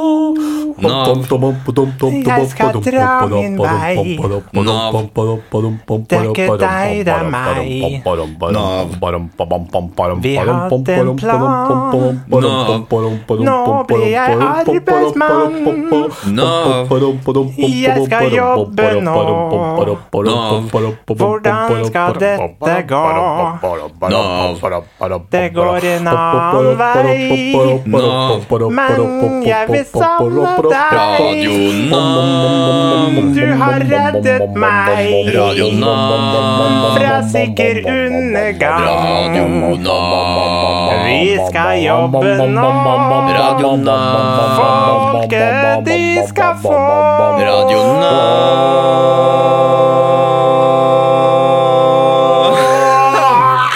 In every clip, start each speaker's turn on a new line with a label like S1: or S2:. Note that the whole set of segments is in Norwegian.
S1: Nav.
S2: Jeg skal dra min vei.
S1: Nav.
S2: Det er ikke deg, det er meg.
S1: Nav.
S2: Vi hadde en plan. Nå blir jeg arbeidsmann.
S1: Nav.
S2: Jeg skal jobbe nå. Hvordan skal dette gå? Det går en annen vei. Men jeg vil savne deg.
S1: Radio Nav.
S2: Du har reddet meg
S1: Radio Nav.
S2: fra sikker undergang.
S1: Radio Nav.
S2: Vi skal jobbe nå.
S1: Radio Nav.
S2: Folket de skal få.
S1: Radio Nav.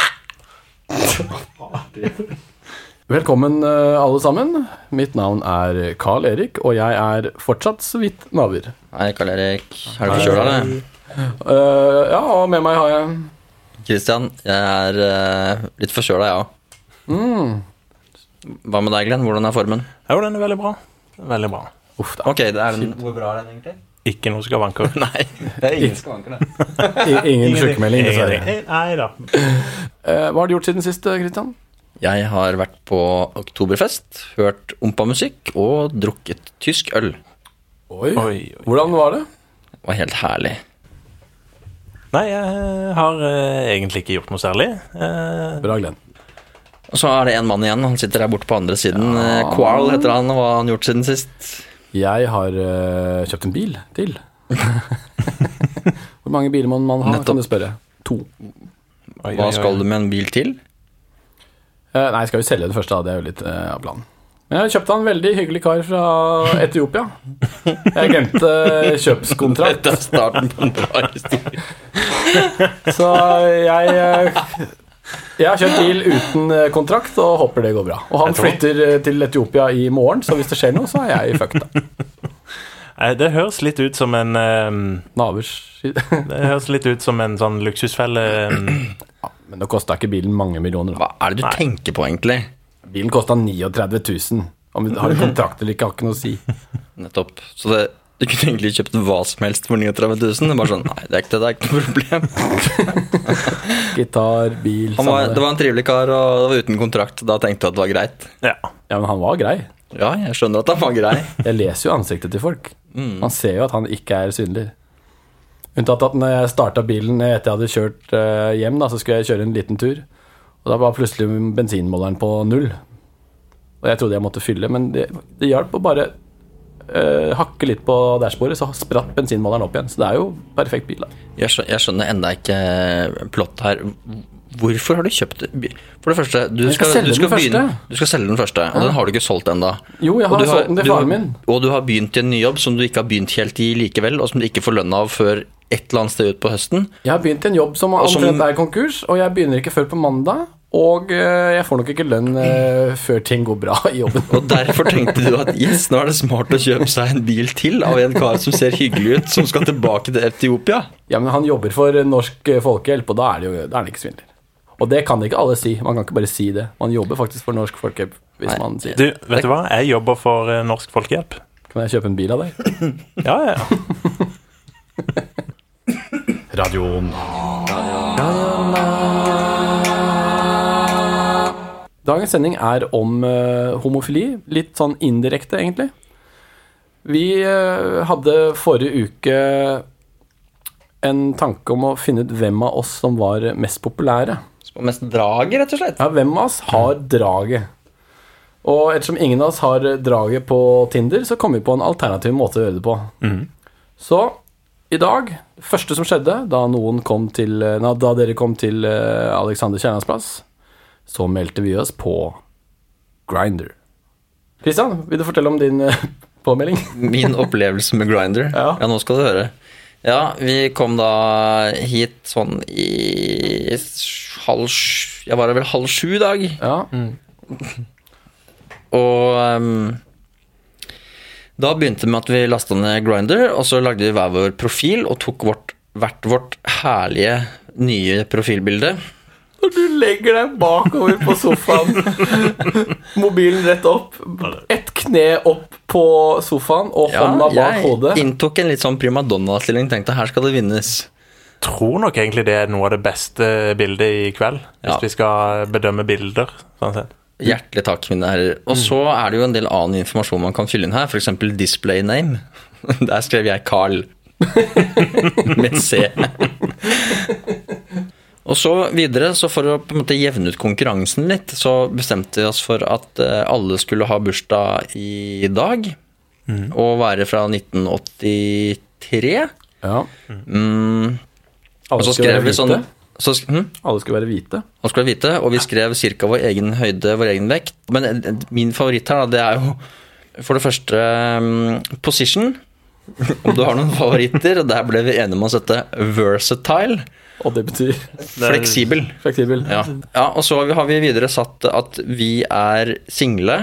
S3: Velkommen eh, alle sammen. Mitt navn er Carl Erik, og jeg er fortsatt så vidt naver.
S1: Hei, Karl Erik. Er du forkjøla, eller?
S3: Eh, ja, og med meg har jeg
S1: Kristian, jeg er eh, litt forkjøla, jeg òg. Hva med deg, Glenn? Hvordan er formen?
S4: Jo, den er veldig bra. Veldig bra.
S3: Uff da.
S1: Ok, det er den Hvor bra er den egentlig?
S4: Ikke noe skavanker.
S1: Nei, det er ingen skavanker, det.
S3: I- Ingen sykemelding, dessverre.
S4: Ingenting. Nei da.
S3: Eh, hva har du gjort siden sist, Kristian?
S1: Jeg har vært på oktoberfest, hørt ompa-musikk og drukket tysk øl.
S3: Oi.
S4: Oi, oi.
S3: Hvordan var det?
S1: Det var helt herlig.
S4: Nei, jeg har eh, egentlig ikke gjort noe særlig. Eh,
S3: Bra, Glenn.
S1: Og så er det en mann igjen. Han sitter der borte på andre siden. Ja. Quarl heter han. og Hva har han gjort siden sist?
S3: Jeg har eh, kjøpt en bil til. Hvor mange biler må man ha, kan du spørre. To.
S4: oi,
S1: Hva
S4: oi, oi.
S1: skal du med en bil til?
S3: Eh, nei, jeg skal jo selge den første, da. Det er jo litt eh, av planen. Men jeg kjøpte av en veldig hyggelig kar fra Etiopia. Jeg glemte eh, kjøpskontrakt,
S1: Dette er starten på en bra historie.
S3: så jeg eh, Jeg har kjøpt bil uten eh, kontrakt og håper det går bra. Og han flytter eh, til Etiopia i morgen, så hvis det skjer noe, så er jeg fucked. da.
S4: Eh, Det høres litt ut som en eh,
S3: Navers
S4: Det høres litt ut som en sånn luksusfelle. eh,
S3: Men det kosta ikke bilen mange millioner, da.
S1: Hva er det du tenker på, egentlig?
S3: Bilen kosta 39 000. Om du har en kontrakt eller ikke, har ikke noe å si.
S1: Nettopp. Så det, du kunne egentlig kjøpt hva som helst for 39 000. Det er Bare sånn, nei, det er ikke det, det er ikke noe problem.
S3: Gitar, bil,
S1: Han var,
S3: samme
S1: det var en trivelig kar, og det var uten kontrakt. Da tenkte jeg at det var greit.
S4: Ja.
S3: Ja, men han var grei.
S1: Ja, jeg skjønner at han var grei.
S3: Jeg leser jo ansiktet til folk.
S1: Mm.
S3: Man ser jo at han ikke er synlig. Unntatt at når jeg starta bilen etter jeg hadde kjørt eh, hjem, da, så skulle jeg kjøre en liten tur. Og da var plutselig bensinmåleren på null. Og jeg trodde jeg måtte fylle, men det, det hjalp å bare eh, hakke litt på dashbordet, så spratt bensinmåleren opp igjen. Så det er jo perfekt bil, da.
S1: Jeg skjønner, jeg skjønner enda ikke eh, plottet her. Hvorfor har du kjøpt bil? For det første, du
S3: skal
S1: skal,
S3: selge
S1: du, skal
S3: den
S1: begynne,
S3: første.
S1: du skal selge den første, og den har du ikke solgt ennå.
S3: Jo, jeg
S1: Og
S3: har
S1: du
S3: solgt den til
S1: du har-
S3: faren min.
S1: Og du har begynt i en ny jobb som du ikke har begynt helt i likevel, og som du ikke får lønn av før et eller annet sted utpå høsten.
S3: Jeg har begynt i en jobb som
S1: Og som-
S3: omtrent er konkurs, og jeg begynner ikke før på mandag. Og eh, jeg får nok ikke lønn eh, før ting går bra i jobben.
S1: Og derfor tenkte du at yes, nå er det smart å kjøpe seg en bil til av en kar som ser hyggelig ut, som skal tilbake til Etiopia.
S3: Ja, men han jobber for Norsk eh, Folkehjelp, og da er, det jo, da er han ikke svindler. Og det kan ikke alle si. Man kan ikke bare si det. Man jobber faktisk for Norsk Folkehjelp hvis
S1: Nei.
S3: man sier det.
S4: Du, vet du hva? Jeg jobber for eh, Norsk Folkehjelp.
S3: Kan jeg kjøpe en bil av deg?
S4: Ja, ja. ja.
S3: Dagens sending er om eh, homofili. Litt sånn indirekte, egentlig. Vi eh, hadde forrige uke en tanke om å finne ut hvem av oss som var mest populære.
S1: Som Mest drager, rett og slett.
S3: Ja, hvem av oss har draget? Og ettersom ingen av oss har draget på Tinder, så kom vi på en alternativ måte å gjøre det på. Så i dag, det første som skjedde da, noen kom til, nei, da dere kom til eh, Alexander Kiellands plass, så meldte vi oss på Grinder. Kristian, vil du fortelle om din eh, påmelding?
S1: Min opplevelse med Grinder.
S3: Ja.
S1: Ja. nå skal du høre. Ja, vi kom da hit sånn i halv sj- Jeg var der vel halv sju i
S3: Mm.
S1: dag.
S3: Ja.
S1: Og ehm, Da begynte det med at vi lasta ned Grinder, og så lagde vi hver vår profil og tok vårt, hvert vårt herlige nye profilbilde.
S3: Når du legger deg bakover på sofaen, mobilen rett opp, ett kne opp på sofaen og hånda bak hodet.
S1: jeg inntok en litt sånn primadonna-stilling. Tenkte her skal det vinnes.
S4: tror nok egentlig det er noe av det beste bildet i kveld, hvis
S1: Ja.
S4: vi skal bedømme bilder. sånn sett.
S1: Hjertelig takk, mine herrer.
S3: Mm.
S1: Og så er det jo en del annen informasjon man kan fylle inn her, f.eks. display name. Der skrev jeg Carl. Med C. Og så videre, så for å på en måte jevne ut konkurransen litt, så bestemte vi oss for at eh, alle skulle ha bursdag i dag.
S3: Mm.
S1: Og være fra 1983.
S3: Ja.
S1: Mm, og
S3: Alle skulle
S1: så skrev
S3: være
S1: vi sånn
S3: hvite.
S1: så, sk- hm?
S3: Alle skulle være hvite.
S1: Nå skal du vite, og vi skrev ca. vår egen høyde, vår egen vekt. Men eh, min favoritt her, da, det er jo for det første mm, position. Om du har noen favoritter. og Der ble vi enige om å sette versatile.
S3: Og det betyr
S1: Fleksibel.
S3: fleksibel.
S1: Ja. ja, og så har vi videre satt at vi er single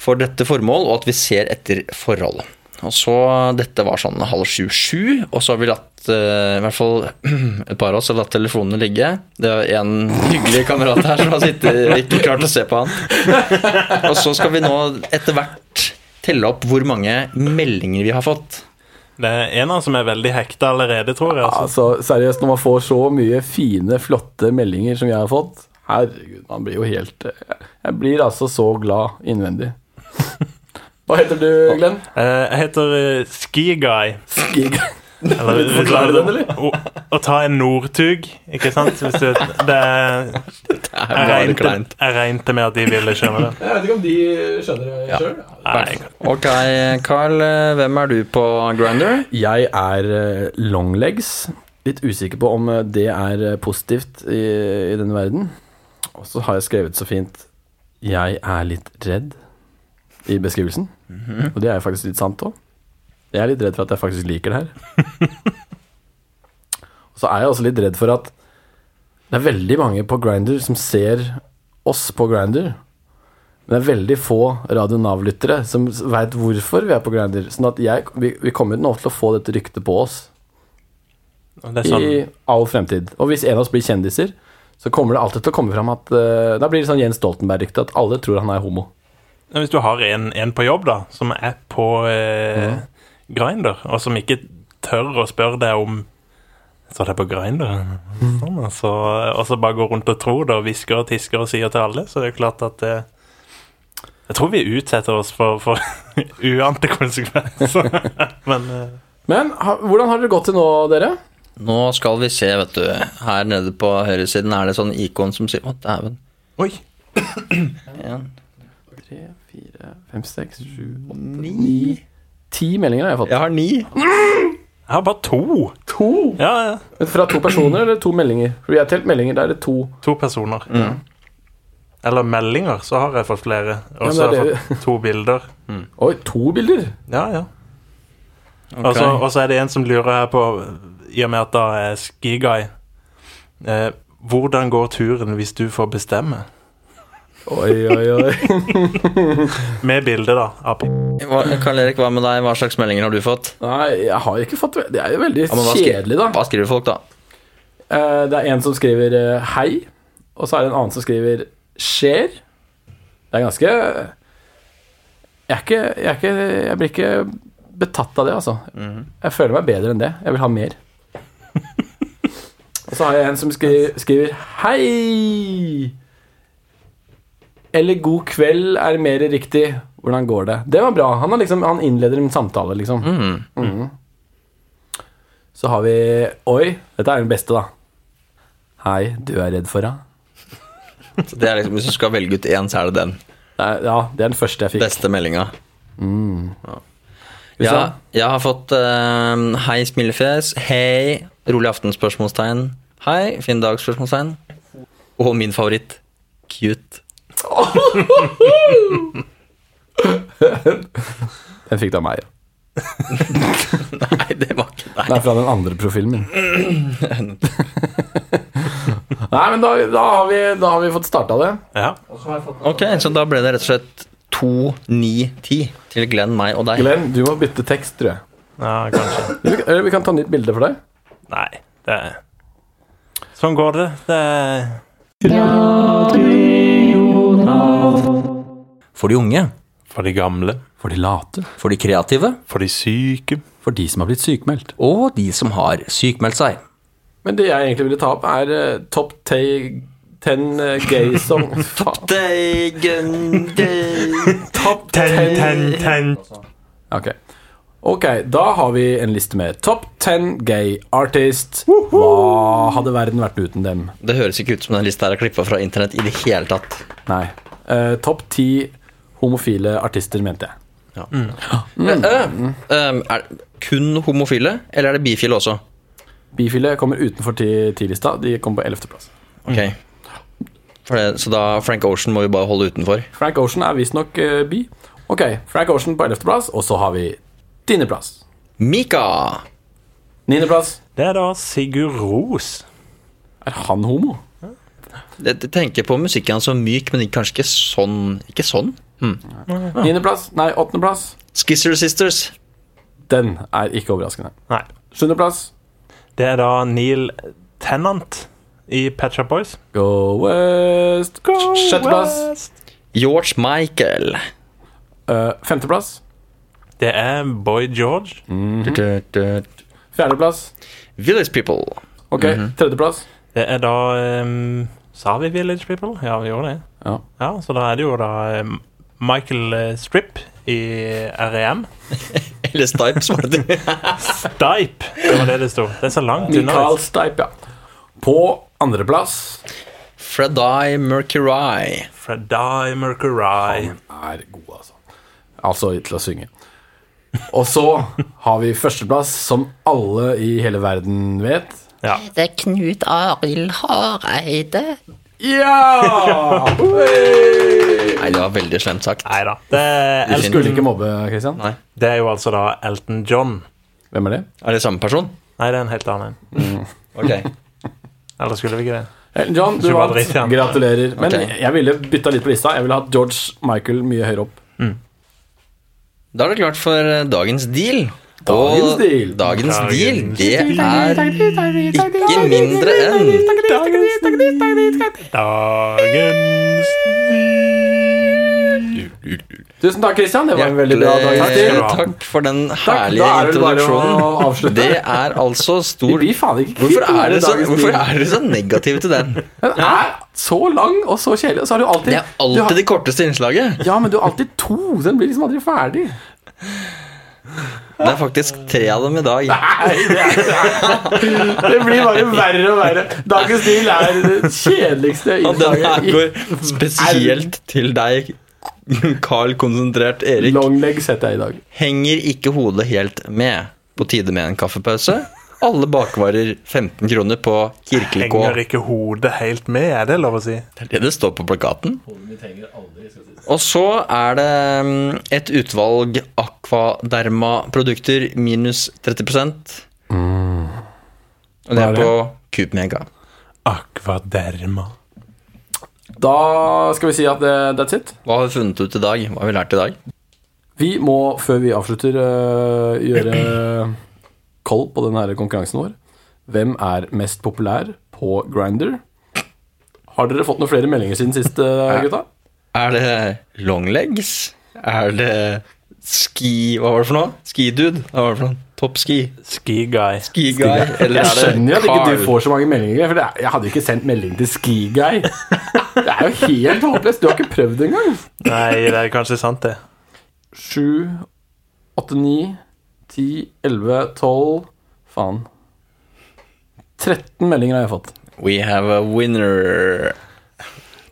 S1: for dette formål, og at vi ser etter forhold. Og så, Dette var sånn halv sju-sju, og så har vi latt eh, i hvert fall et par av oss har latt telefonene ligge. Det er en hyggelig kamerat her som har sittet ikke klart å se på han. Og så skal vi nå etter hvert telle opp hvor mange meldinger vi har fått.
S4: Det er en av dem som er veldig hekta allerede, tror jeg. Altså.
S3: Altså, seriøst, når man får så mye fine, flotte meldinger som jeg har fått Herregud, man blir jo helt eh, Jeg blir altså så glad innvendig. Hva heter du, Glenn?
S4: Eh, Jeg heter eh, Ski Guy.
S3: Skig.
S4: Eller,
S3: Vil du forklare den, eller?
S4: Å, å ta en Northug, ikke sant? Hvis du, det er,
S1: Det
S4: jeg,
S1: er bare kleint.
S4: regnet, jeg regnet med at de ville skjønne det.
S3: Jeg vet ikke om de skjønner det sjøl.
S4: Nei,
S1: Ok, Carl, eh, hvem er du på Grinder?
S3: Jeg er eh, longlegs. Litt usikker på om eh, det er eh, positivt i, i denne verden. Og så har jeg skrevet så fint 'Jeg er litt redd' i beskrivelsen. Og det er faktisk litt sant òg. Jeg er litt redd for at jeg faktisk liker det her. Og så er jeg også litt redd for at det er veldig mange på Grinder som ser oss på Grinder. Men det er veldig få Radio Nav-lyttere som veit hvorfor vi er på Grindr. Sånn at jeg, vi, vi kommer nå til å få dette ryktet på oss
S4: Og Det er sånn,
S3: i all fremtid. Og hvis en av oss blir kjendiser, så kommer det alltid til å komme fram at eh, Da blir det sånn Jens Stoltenberg-rykte at alle tror han er homo.
S4: hvis du har en, en på jobb da, som er på eh, Grindr, og som ikke tør å spørre deg om Så er det på Grindr. Sånn, altså, og så bare går rundt og tror det, og hvisker og tisker og sier til alle, så det er klart at eh, Jeg tror vi utsetter oss for, for uante konsekvenser. Men eh,
S3: Men ha, hvordan har dere gått til nå, dere?
S1: Nå skal vi se, vet du. Her nede på høyresiden er det sånn ikon som sier Å, dæven.
S4: Oi!
S1: En,
S3: Tre, fire, fem, seks, sju, åtte, ni Ti meldinger har jeg fått.
S1: Jeg har ni.
S4: Jeg har bare to.
S3: To!
S4: Ja, ja.
S3: Fra to personer eller to meldinger? For jeg har telt meldinger, da er det to.
S4: To personer.
S3: Mm.
S4: Eller meldinger, så har jeg fått flere. Og
S3: men
S4: så har
S3: det er
S4: jeg fått to bilder.
S3: Oi, to bilder!
S4: Ja, ja. Og så- Og så er det en som lurer her på, i og med at da er Skiguy eh, Hvordan går turen hvis du får bestemme?
S3: Oi, oi, oi.
S4: Med bilde, da. Av p-
S1: Hva- Karl Erik, hva med deg? Hva slags meldinger har du fått?
S3: Nei, jeg har ikke fått Det er jo veldig
S1: Ja, men hva skri-
S3: kjedelig, da.
S1: Hva skriver folk, da?
S3: Eh, Det er en som skriver eh, 'hei', og så er det en annen som skriver 'skjer'. Det er ganske Jeg, er ikke, jeg, er ikke, jeg blir ikke betatt av det, altså. Jeg føler meg bedre enn det. Jeg vil ha mer. og så har jeg en som skri, skriver 'hei'. Eller 'god kveld' er mer riktig. Hvordan går det? Det var bra. Han, har liksom, han innleder en samtale, liksom. Mhm. Så har vi Oi, dette er den beste, da. Hei, du er redd for henne?
S1: Så Det er liksom, Hvis du skal velge ut én, så er det den.
S3: Ja, det er den første jeg fikk.
S1: Beste meldinga.
S3: Hvis
S1: Ja,
S3: jeg-
S1: jeg har fått eh, hei, smilefjes. Hei, rolig aften? spørsmålstegn. Hei, fin dag? spørsmålstegn. Og min favoritt cute.
S3: Den fikk du av meg.
S1: Nei, det var ikke deg.
S3: Det er fra den andre profilen min. Nei, men da, da, har, vi, da har vi fått starta det.
S4: Ja.
S1: Ok, så da ble det rett og slett 2910 til Glenn, meg og deg.
S3: Glenn, du må bytte tekst, tror jeg.
S4: Ja, kanskje.
S3: Eller vi- Eller vi kan ta nytt bilde for deg.
S4: Nei, det er Sånn går det. det er...
S1: For de unge,
S4: For de gamle.
S3: For de late.
S1: for de kreative
S4: For de syke.
S3: For de som har blitt sykemeldt.
S1: og de som har sykmeldt seg.
S3: Men det jeg egentlig ville ta opp, er eh, Top ta- Ten eh, Gay Song Faen.
S1: Deigen, deigen.
S3: Top
S4: Ten,
S3: Ten
S4: ten, ten.
S3: Ok. Ok, da har vi en liste med Top Ten Gay Artist. Hva hadde verden vært uten dem?
S1: Det høres ikke ut som den lista her er klippa fra internett i det hele tatt.
S3: Nei. Eh, Topp ti homofile artister, mente jeg.
S1: Mm. Eh, eh, er det kun homofile, eller er det bifile også?
S3: Bifile kommer utenfor ti- ti-lista. De kommer på ellevteplass.
S1: Ok for det, Så da Frank Ocean må vi bare holde utenfor.
S3: Frank Ocean er visstnok uh, bi. Ok, Frank Ocean på ellevteplass, og så har vi tiendeplass.
S1: Mika!
S3: Niendeplass
S4: Det er da Sigurd Ros.
S3: er han homo.
S1: Jeg jeg tenker på musikken hans som myk, men ikke- kanskje ikke sånn. Ikke sånn?
S3: Niendeplass, nei, åttendeplass.
S1: Skizzer Sisters.
S3: Den er ikke overraskende.
S4: Nei.
S3: Sjuendeplass
S4: Det er da Neil Tennant i Patch Up Boys.
S3: Go West. Sjetteplass.
S4: West.
S1: George Michael.
S3: Eh, femteplass.
S4: Det er Boy George.
S1: Mm-hmm.
S3: Fjerdeplass.
S1: Village People.
S3: Ok, tredjeplass.
S4: Det er da um, Sa vi Village People? Ja, vi gjorde det.
S3: Ja.
S4: Ja, Så da er det jo da um, Michael eh, Strip i E REM.
S1: Eller Stipes, var det det?
S4: Dipe! Det var det det sto. Det er så langt unna.
S3: Michael Stipe, ja. På andreplass
S1: Fred Eye Mercury.
S4: Freddy Mercury.
S3: er god, altså. Altså til å synge. Og så har vi førsteplass, som alle i hele verden vet.
S4: Ja.
S5: Det er Knut Arild Hareide.
S3: Ja!
S1: Nei, det var veldig slemt sagt.
S4: Nei da. Det, er
S1: Du
S4: Elton-
S3: Skulle ikke mobbe, Christian.
S1: Nei.
S4: det er jo altså da Elton John.
S3: Hvem er det?
S1: Er det samme person?
S4: Nei, det er en helt annen en.
S1: Ok.
S4: Eller skulle vi ikke det?
S3: Elton John, du
S4: Ikke bare
S3: vant.
S4: dritt, ja.
S3: Gratulerer. Men
S1: Ok.
S3: jeg ville bytta litt på lista. Jeg ville hatt George Michael mye høyere opp.
S1: Da er det klart for eh, dagens deal.
S3: Dagens
S1: Og
S3: deal.
S1: Dagens
S4: Dagens
S1: deal, det er ikke mindre enn
S4: Dagens
S3: Tusen takk, Christian. Det var en veldig bra dag.
S1: Hjertelig
S3: til.
S1: Eh, Takk for den
S3: Takk. Da
S1: herlige
S3: er det vel bare å
S1: introduksjonen.
S3: avslutte.
S1: Det er altså
S3: Vi
S1: stor
S3: blir faen ikke
S1: Hvorfor
S3: kvitt
S1: er
S3: den
S1: dere så,
S3: dagens
S1: hvorfor
S3: deal.
S1: er dere så negative til den?
S3: Den er så lang og så kjedelig, og så har du alltid
S1: Det
S3: du
S1: er
S3: har-
S1: alltid det korteste innslaget.
S3: Ja, men du har alltid to. Den blir liksom aldri ferdig.
S1: Det er faktisk tre av dem i dag.
S3: Det blir bare verre og verre. Dagens deal er det kjedeligste
S1: Og den her
S3: innslaget i
S1: går spesielt til deg, Carl Konsentrert Erik.
S3: longleg, setter jeg i dag.
S1: Henger ikke hodet helt med. På tide med en kaffepause. Alle bakvarer 15 kroner på Kirkelig K.
S4: henger ikke hodet helt med, er det lov å si?
S1: Det er det det står på plakaten. Og så er det mm, et utvalg Aquaderma-produkter minus 30 Og det
S3: Mm. Hva er
S1: er
S3: det?
S1: på Coopmega.
S4: Akvaderma.
S3: Da skal vi si at eh, that's it.
S1: Hva har vi funnet ut i dag? Hva har vi lært i dag?
S3: Vi må, før vi avslutter, øh, gjøre koll på den her konkurransen vår. Hvem er mest populær på Grinder? Har dere fått noen flere meldinger siden sist, øh, gutta?
S1: Er det longlegs? Er det ski Hva var det for noe? Skidude? Hva var det for noe? Toppski?
S4: Ski guy.
S1: Ski-guy? Eller
S3: Jeg
S1: er det
S3: skjønner jo at ikke
S1: Carl?
S3: du får så mange meldinger, for det er, jeg hadde jo ikke sendt melding til Ski-Guy. Det er jo helt håpløst. Du har ikke prøvd engang.
S4: Nei, det er kanskje sant, det.
S3: Sju, åtte, ni, ti, elleve, tolv Faen. 13 meldinger har jeg fått.
S1: We have a winner.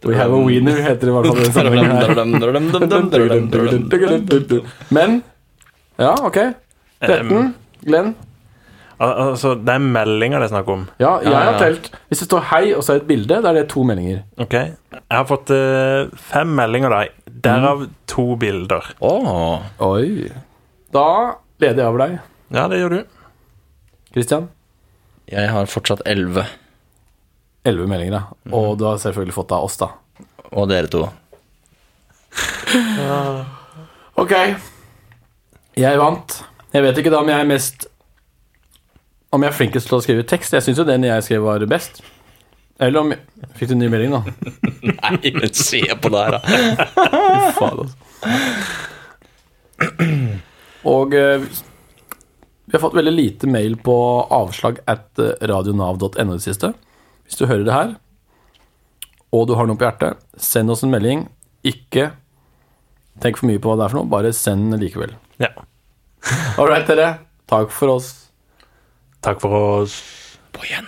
S3: We have a winner, heter det i hvert fall. i den sammenhengen her. Men Ja, ok.
S1: Um,
S3: 13. Glenn.
S4: Um, Al- Altså, det er meldinger det er snakk om.
S3: Ja, jeg
S1: ja,
S3: har
S1: ja.
S3: telt. Hvis det står 'hei' og så er det et bilde, da er det to meldinger.
S4: Ok? Jeg har fått eh, fem meldinger, da. Derav to bilder.
S1: Åh,
S3: Oi. Da leder jeg over deg.
S4: Ja, det gjør du.
S3: Christian.
S1: jeg har fortsatt 11,
S3: 11 meldinger, ja. Og du har selvfølgelig fått av oss, da.
S1: og dere to.
S3: Ok. Jeg vant. Jeg vet ikke da om jeg er mest Om jeg er flinkest til å skrive tekst. Jeg syns jo den jeg skrev, var best. Eller om jeg Fikk du en ny melding, da?
S1: Nei, men se på det her, da.
S3: Faen, altså. Og eh, vi har fått veldig lite mail på avslag at eh, radionav.no det siste. Hvis du hører det her, og du har noe på hjertet, send oss en melding. Ikke tenk for mye på hva det er for noe, bare send likevel.
S4: Ja.
S3: All right, dere. Takk for oss.
S4: Takk for oss.
S1: På igjen.